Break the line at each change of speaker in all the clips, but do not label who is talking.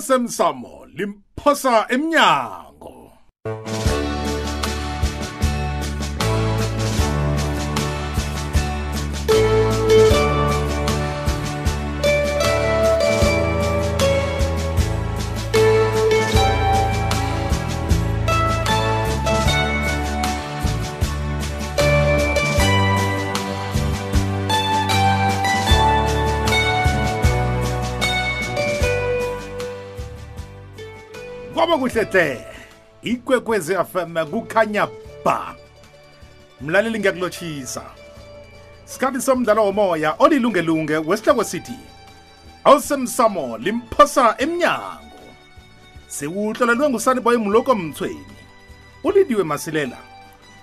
osemsamo limphosa emnyango kwaba kuhle hle ikwekwezi fm kukhanya ba mlaleli ngiyakulotshisa sikhathi somdlalo womoya olilungelunge wesihloko sithi awusemsamo limphosa emnyango sikuhlolelwe ngusaniboy mloko mthweni ulidiwe masilela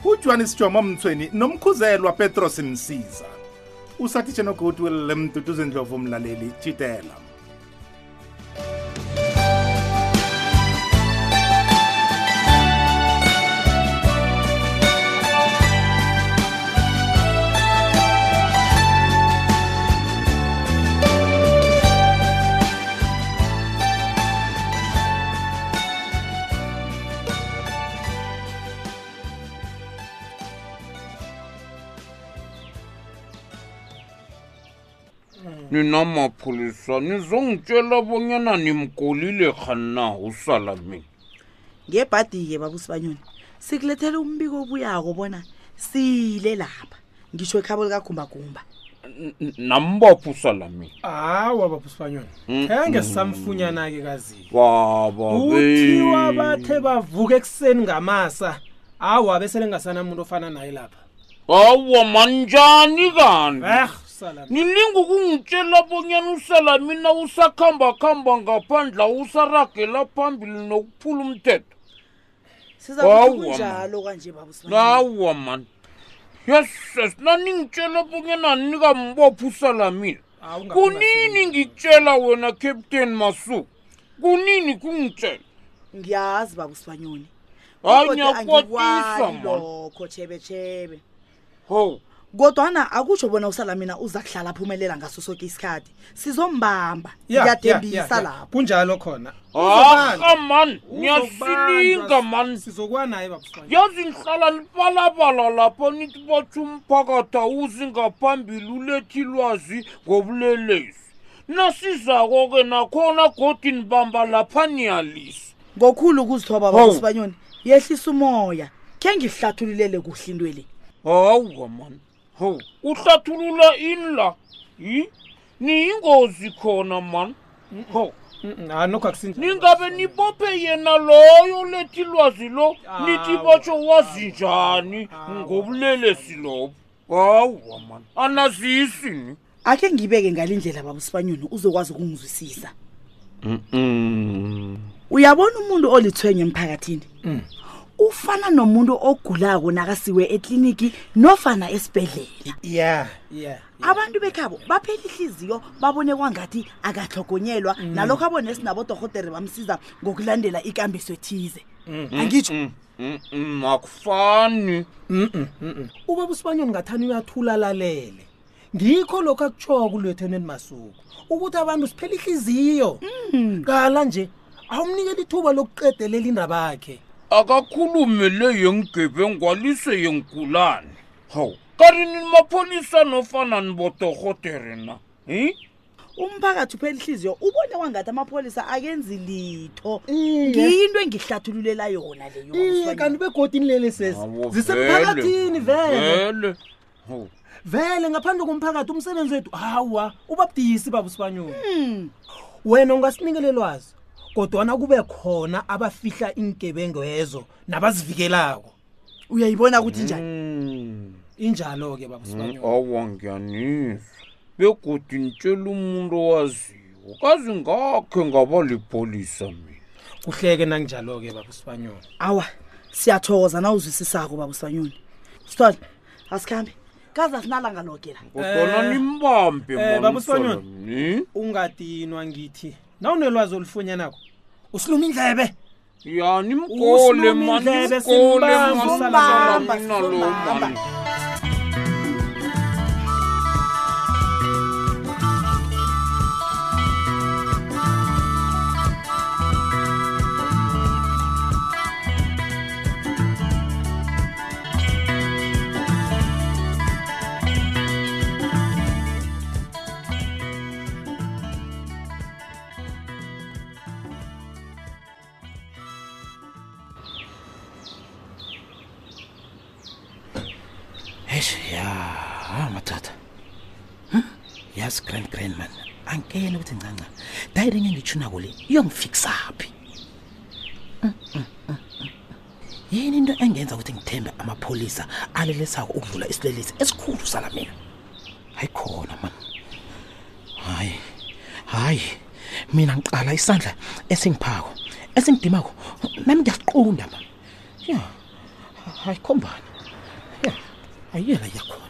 ujohanis jomo mthweni nomkhuzelwa petros msiza usathi tshenokuthi lemduduze ndlovu mlaleli tshitela
nina mapholisa nizongitshela bonyana nimkolile khanna usalamini
ngebhadi-ke babusibanyoni sikulethele umbiko obuyako bona sile lapha ngisho ekhabo likagumbagumba
nambapha usalamini
hawa baphusibanyoni khenge samfunyana-ke kazini
baba
uthiwa bathe bavuka ekuseni ngamasa awa besele ngasanamuntu ofana naye lapha
awa manjani kanti
eh salam
nilinga ukungitshela bonyana usalamina usakhamba-khamba ngaphandla usaragela phambili nokuphula umthetho Hawu,
sizakuthi
mama.
kunjalo kanje babusibanyoni
awa mani yeses naningitshela bonyana nikambopha usalamina kunini ngikutshela wena captain masuku kunini kungitshela
ngiyazi babusibanyoni
Hayi,
Oh, Kodwa
ngiyakwatisa,
angikwali
man.
lokho chebechebe
ho
kodwana akutsho bona usalamina uza kuhlala aphumelela ngaso soke isikhathi sizombamba
Ya, ya, ya,
ngiyathembisa
ya.
lapho
kunjalo khona
aha mani
Uzokubanjwa,
ngiyasilinga mani
sizokuwa naye baphusibanyoni
yazi nihlala libalabala lapha nithi batsho umphakathi awuzi ngaphambili ulethi ilwazi ngobulelesi nasizako-ke nakhona godi nibamba lapha niyalisa
ngokhulu ukuzithoba
Hawu.
babusibanyoni yehlisa umoya khe ngihlathululele kuhle into le
hawa mani ho uhlathulula ini la yi niyingozi khona mani ho
anokho ah, akusinjalo
ningabe nibophe yena loyo lethi lwazi lo
Ah, Hawu, Ah,
nithi batsho wazi njani ngobulelesi lobo hawa mani anazisi ni
akhe ngibeke ngalindlela babusibanyoni uzokwazi ukungizwisisa uyabona umuntu olithwenye emphakathini ufana nomuntu ogulako nakasiwe ekliniki nofana esibhedlela
Mm. ya ya
abantu bekhabo baphela ihliziyo babone kwangathi akahlogonyelwa nalokho abone sinabodorhotere bamsiza ngokulandela ikambiso ethize angitsho
Mm, akufani
ubaba usibanyoni ngathani uyathula alalele ngikho lokhu akutshoko ulwethenweni masuku ukuthi abantu siphela ihliziyo kala nje awumnikela ithuba lokuqedelela indaba yakhe
akakhulume le yengigebengwalise yengulane hawu kari nini mapholisa nofana nibotorhotere na hi
umphakathi uphela ihliziyo ubone kwangathi amapholisa akenzi litho ngiyinto engihlathululela yona leyo
iye kanti begodini leli sesi
Hawu,
zisemphakathini vele
vele hawu
vele ngaphandle komphakathi umsebenzi wethu hawa ubabudisi baba usibanyoni wena ungasinikelelwazi kodwana kube khona abafihla iingebengwezo nabazivikelako
uyayibona ukuthi njani
Mm.
injalo-ke baba usibanyoni
awa ngiyanizwa begodi nitshela umuntu owaziwo kazi ngakhe ngaba lipholisa mina
kuhleke nanginjalo-ke baba usibanyoni
awa siyathokoza nawuzwisisako babusanyoni sithole asikhambe kaze asinalanga loke la
kodwana nimbambe
eh,
man,
Baba uSibanyoni.
Solomon.
ungadinwa ngithi nawunelwazi olufunyanako usiluma indlebe
ya nimgole
Usilume
mani
indlebe,
nimgole
simbambe, simbambe,
mani lo
simbambe.
mani
Thank
eish ya ha matata
Hm?
yazi grand grand man angikeni ukuthi ncanca dayirinye ngithunako le iyongifiksaphi
Hm,
Mm, mm, mm, mm, mm. yini into engenza ukuthi ngithembe amapholisa alelesako ukudlula isilelesi esikhulu sala mina hayi khona mani hayi hayi mina ngiqala isandla esingiphako esingidimako nami ngiyasiqunda ma ya hayi khombani ya ayiyela yakhona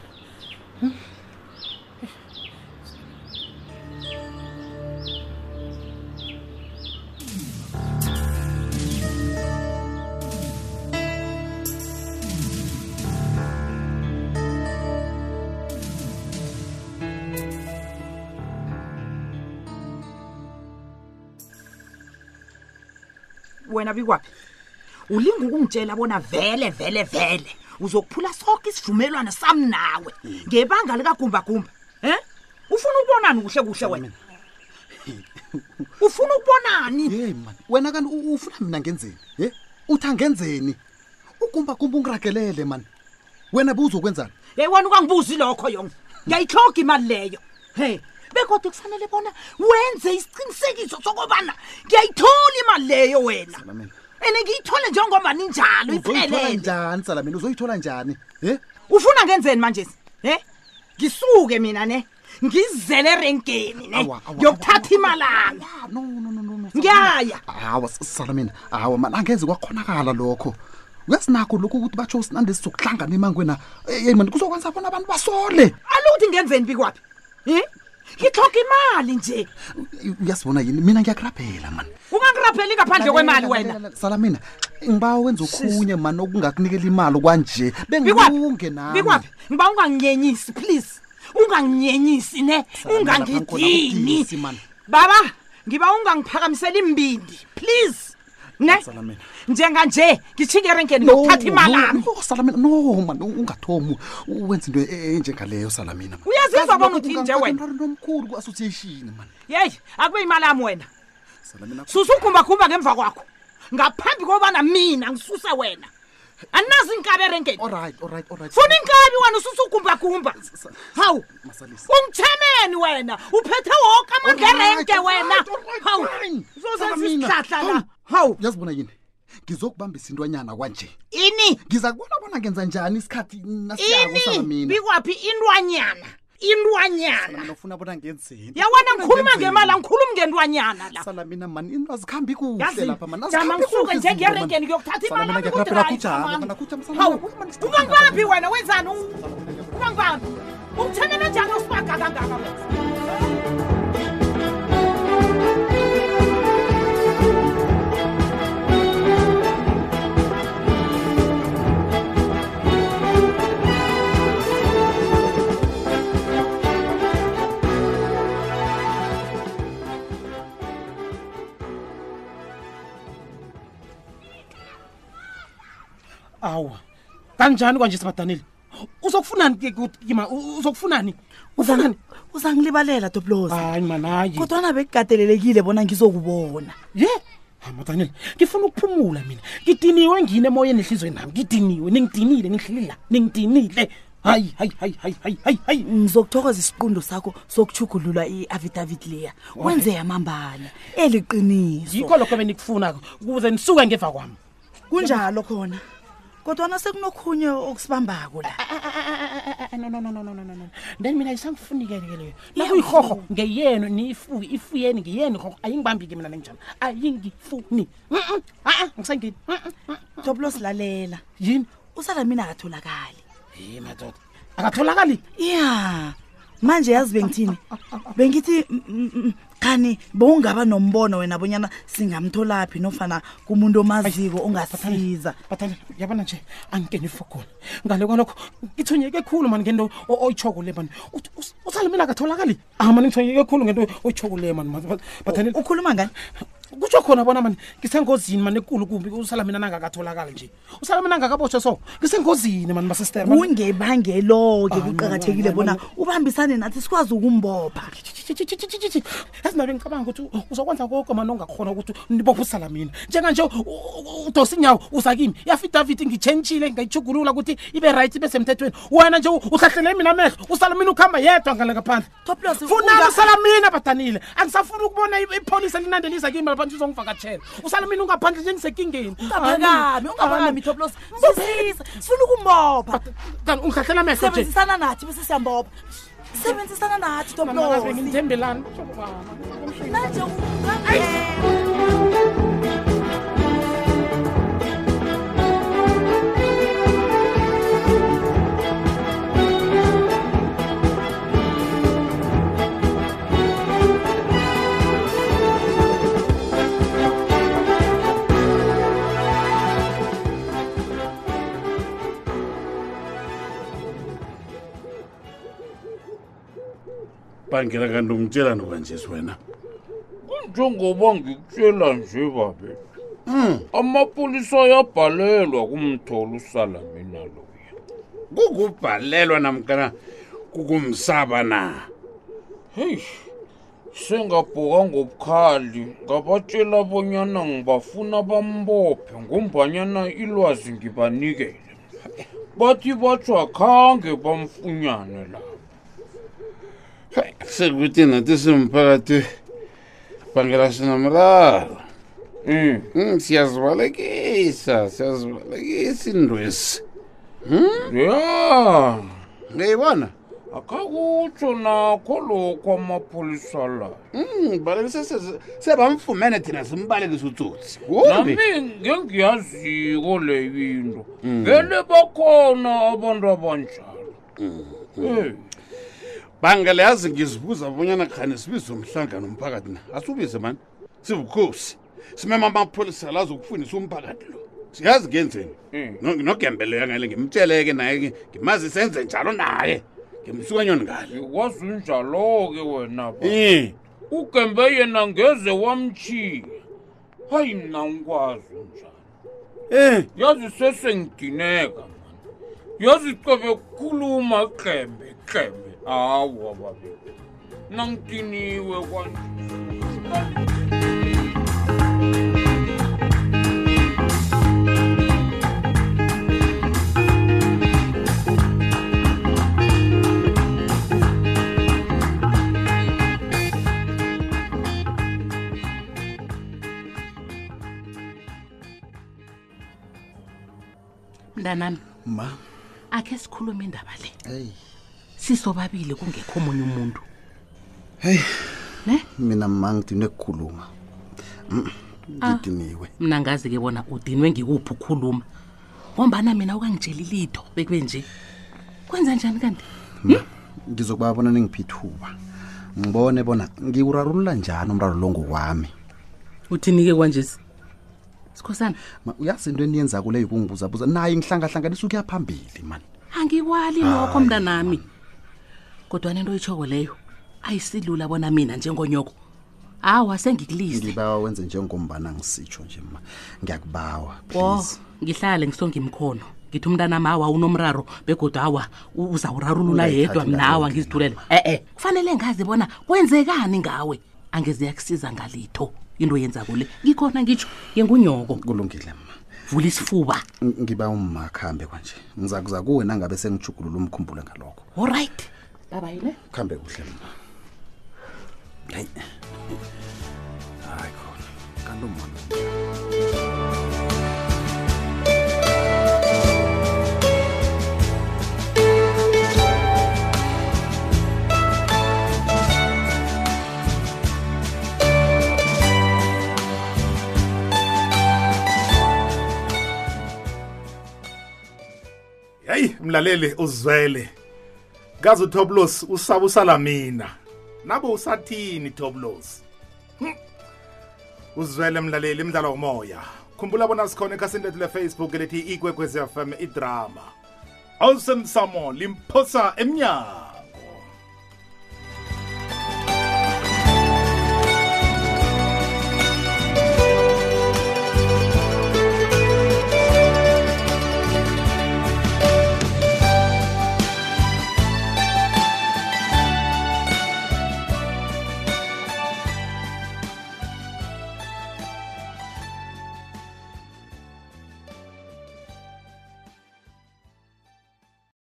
wena bikwaphi ulinga ukungitshela bona vele vele vele uzokuphula sonke isivumelwano sami nawe ngebanga likagumbagumba um ufuna ukubonani kuhle kuhle wena ufuna ukubonani
yeyi mani wena kanti u- ufuna mina ngenzeni ye uthi angenzeni ukumbakumba ungiragelele mani wena bewuzokwenzani
yeyi wena ukangibuzi lokho yonke ngiyayihloga imali leyo he bekodwa kufanele bona wenze isiqinisekiso sokobana ngiyayithola imali leyo wena
Salamela.
ande ngiyithole njengoba ninjalo
uzoyithola
iphelele
njani sala mina uzoyithola njani ye
ufuna ngenzeni manje he ngisuke mina ne ngizele erenkeni ne
Awa, awa,
yokuthatha imalami
no no no no no
ngiyaya
hawa sala mina hawa mani angenzi kwakhonakala lokho uyasinakho lokhu ukuthi batsho usinande sizokuhlangana emangwena yeyi mani kuzokwenza bona abantu basole
alokuthi ngenzeni bikwaphi um ngithoga imali nje
U- uyasibona yini mina ngiyakurabhela mani
ungangirapheli ngaphandle kwemali wena
sala mina ngiba wenza okhunye mani okungakunikela imali kwanje bengilunge nami
bikwaphi ngiba unganginyenyisi please unganginyenyisi ne
Salamela,
ungangidini
Nkulunkulu, man.
baba ngiba ungangiphakamiseli imbindi please ne
Salamela.
njenganje ngithinga erenkeni
No,
ngokuthatha imalami
no, no, salamina no man ungathomi uwenza into e- enjengalelo salamina man.
Uyazizwa
Kazi
bona
lokho
uthini nje
kungangifaka
wena?
emrarweni omkhulu ku-association man
yeyi akube imali yami wena
salamina
susa ugumbakhumba ngemva kwakho ngaphambi kokubana mina ngisuse wena andinazi inkabi erenkeni
olright olright olright
funa inkabi wena ususa ugumbagumba hawu
masalisa
ungithemeni wena uphethe woke amandla erenke wena hawu uzozenza isihlahla la hawu
yazibona yini ngizokubambisa intwanyana kwanje
ini
ngiza kubona bona ngenza njani isikhathi nasiyako
ini
salamina
bikwaphi intwanyana intwanyana
Mina ufuna bona ngenzeni
ya wena
Ufuna
ngikhuluma
ngenzeni?
ngemali angikhulumi ngentwanyana la
salamina mani into azikhambi kuhle
Yazi,
lapha mani
jama
azikhambi
ngisuke
kuhle
nje
izinto, man.
ngerenkeni ngiyokuthatha
Salamina,
imali
ngiyakurabhela, kujama, mana, kujama, salamina,
hawu
kujama, man,
ungangibambi wena wenzani U- ungangibambi ungithenele njani osibaga kangaka wena
awa kanjani kwanje sibadanile uzokufunani ke kuthi kima U- uzokufunani ufunani
uzangilibalela doblozi
hayi mani hayi
kodwana bekukatelelekile bona ngizokubona
ye amadanile ngifuna ukuphumula mina ngidiniwe ngine emoyeni ehlizweni nami ngidiniwe ningidinile nihleli la ningidinile hayi hayi hayi hayi hayi hayi hayi
ngizokuthokoza isiqundo sakho sokuchugulula i-avidavit leya wenze yamambala eliqiniso
yikho lokho benikufuna-ko ukuze nisuke ngeva kwami
kunjalo khona kodwana sekunokhunye okusibambako la
then mina isangifunike-ke leyo nakuyihoho ngeyenu niyifuke ifuyeni ngiyeni hoho ayingibambi-ke mina nenjani ayingifuni Mm-mm, a-a ngisangeni Mm-mm, mm-mm.
doblozi lalela
yini
usala mina akatholakali
ye madoda akatholakali
ya manje yazi bengithini bengithi mm, mm, mm, kani bowungaba nombono wena bonyana singamtholaphi nofana kumuntu omaziko ongasiza
bathanda yabona nje angikeni ifogona ngale kwalokho ngithonyeke khulu mani ngento o- oyitshoko le mani Uthi us- usale mina akatholakali ah mani ngithonyeke khulu ngento oyitshoko le mani bathanda
ukhuluma ngani
kutsho khona bona mani ngisengozini mani ekulu kumbi usala mina nangakatholakali nje usala mina nangakabotshwa so ngisengozini mani basister
kungebangelo-ke
Ah,
kuqakathekile
no, no, no,
bona ubambisane nathi sikwazi ukumbopha
yazi nabe ngicabanga ukuthi uzokwenza konke mani ongakhona ukuthi nibophe usala mina njenganje udosa inyawo uzakimi i-afidaviti ngitshentshile ngayijugulula ukuthi ibe right ibe semthethweni wena nje uhlahlele mina amehlo usala mina ukuhamba yedwa ngale ngaphandle
Topless,
funani
unga-
usala mina badanile angisafuni ukubona i- ipholisa linandelisa kimi laphansi uzongivakatshela usala mina ungaphandle njengisekingeni
ungaphakami ungaphakami toplos sisise sifuna ukumbopha
Kani ungihlahlela amehlo nje
sebenzisana nathi bese siyambopha sebenzisana nathi toplos
ngithembelani
manje ungaphela
bangela kanti umtshela nokanjesi wena
njengoba ngikutshela nje babe
Hmm.
amapolisa ayabhalelwa kumthola usalamina loya
kukubhalelwa namkana kukumsaba na
heyi sengabhoka ngobukhali ngabatshela bonyana ngibafuna bambophe ngombanyana ilwazi ngibanikele bathi batsho akhange bamfunyane lapho
sekuthi nathi simphakathi bangela sinamraro
um
Mm, siyazibalekisa siyazibalekisa Hmm? indwesi
ya
ngiyibona
akakutsho nakho lokho amapolisa layo
balekisa sebamfumene thina simbalekisa utsotsi
nami ngengiyaziko leyo into vele bakhona abantu abanjalo Eh,
bangela yazi ngizibuza bonyana khani sibize umhlangano umphakathi na asiubize mani sibukhosi simema amapholisa la azokufundisa umphakathi lo siyazi ngenzeni
Mm.
No- nogembeleyo ngale ngimtsheleke naye ngimazi senze njalo naye ngimsukanyoni ngale
ngikwazi unjalo-ke wena ba
Eh.
ugembe yena ngeze wamtshiya hayi mna ngikwazi njani
Eh.
yazi sesengidineka mani yazi cebe kukhuluma qembe qembe hawa babe mna ngidiniwe kwanje
mntanami
ma
akhe sikhulume indaba le
eyi
sisobabili kungekho omunye umuntu
mina ma ngidinwe kukhuluma Mm,
Ah.
ngidiniwe
mna ngazi-ke bona udinwe ngikuphi ukukhuluma ngombana mina ukangitsheli litho bekube nje kwenza njani kanti
Mm-hmm. ngizokubabona ningiphithuba ngibone bona ngiwurarulula njani umraro lo ngokwami
uthini-ke kwanjesi sikhosana
Ma, uyazi into eniyenza kuleyo kungibuzabuza naye ngihlangahlanganisa ukuya phambili mani
angikwali nokho mntanami kodwa nento oyitshoko leyo ayisilula bona mina njengonyoko awa sengikulise
ngibawa wenze njengombana ngisitsho nje ma ngiyakubawa
o
please
ngihlale ngisonge imkhono ngithi umntanami awa unomraro begodwa awa u- uzawurarulula
Ungayithathi
yedwa mna awa
ndawo,
ngizithulele e-e kufanele ngazi bona kwenzekani ngawe angeze yakusiza ngalitho into yenzako le ngikhona ngitsho yengunyoko
kulungile ma
vula isifuba
Ng- ngiba umma khambe kwanje ngiza kuza kuwe nangabe sengijugulula umkhumbulo ngalokho
allright babayile
khambe kuhle mna hayi hayi khona kanti umma lo-
yayi mlaleli uzwele kazi utoblos usaba usalamina nabo usathini toblos Hm. uzwele mlaleli imdlalo womoya khumbula bona sikhona ekhasini lethu lefacebook elithi ikwekwezi fm idrama awesome samo limphosa emnyango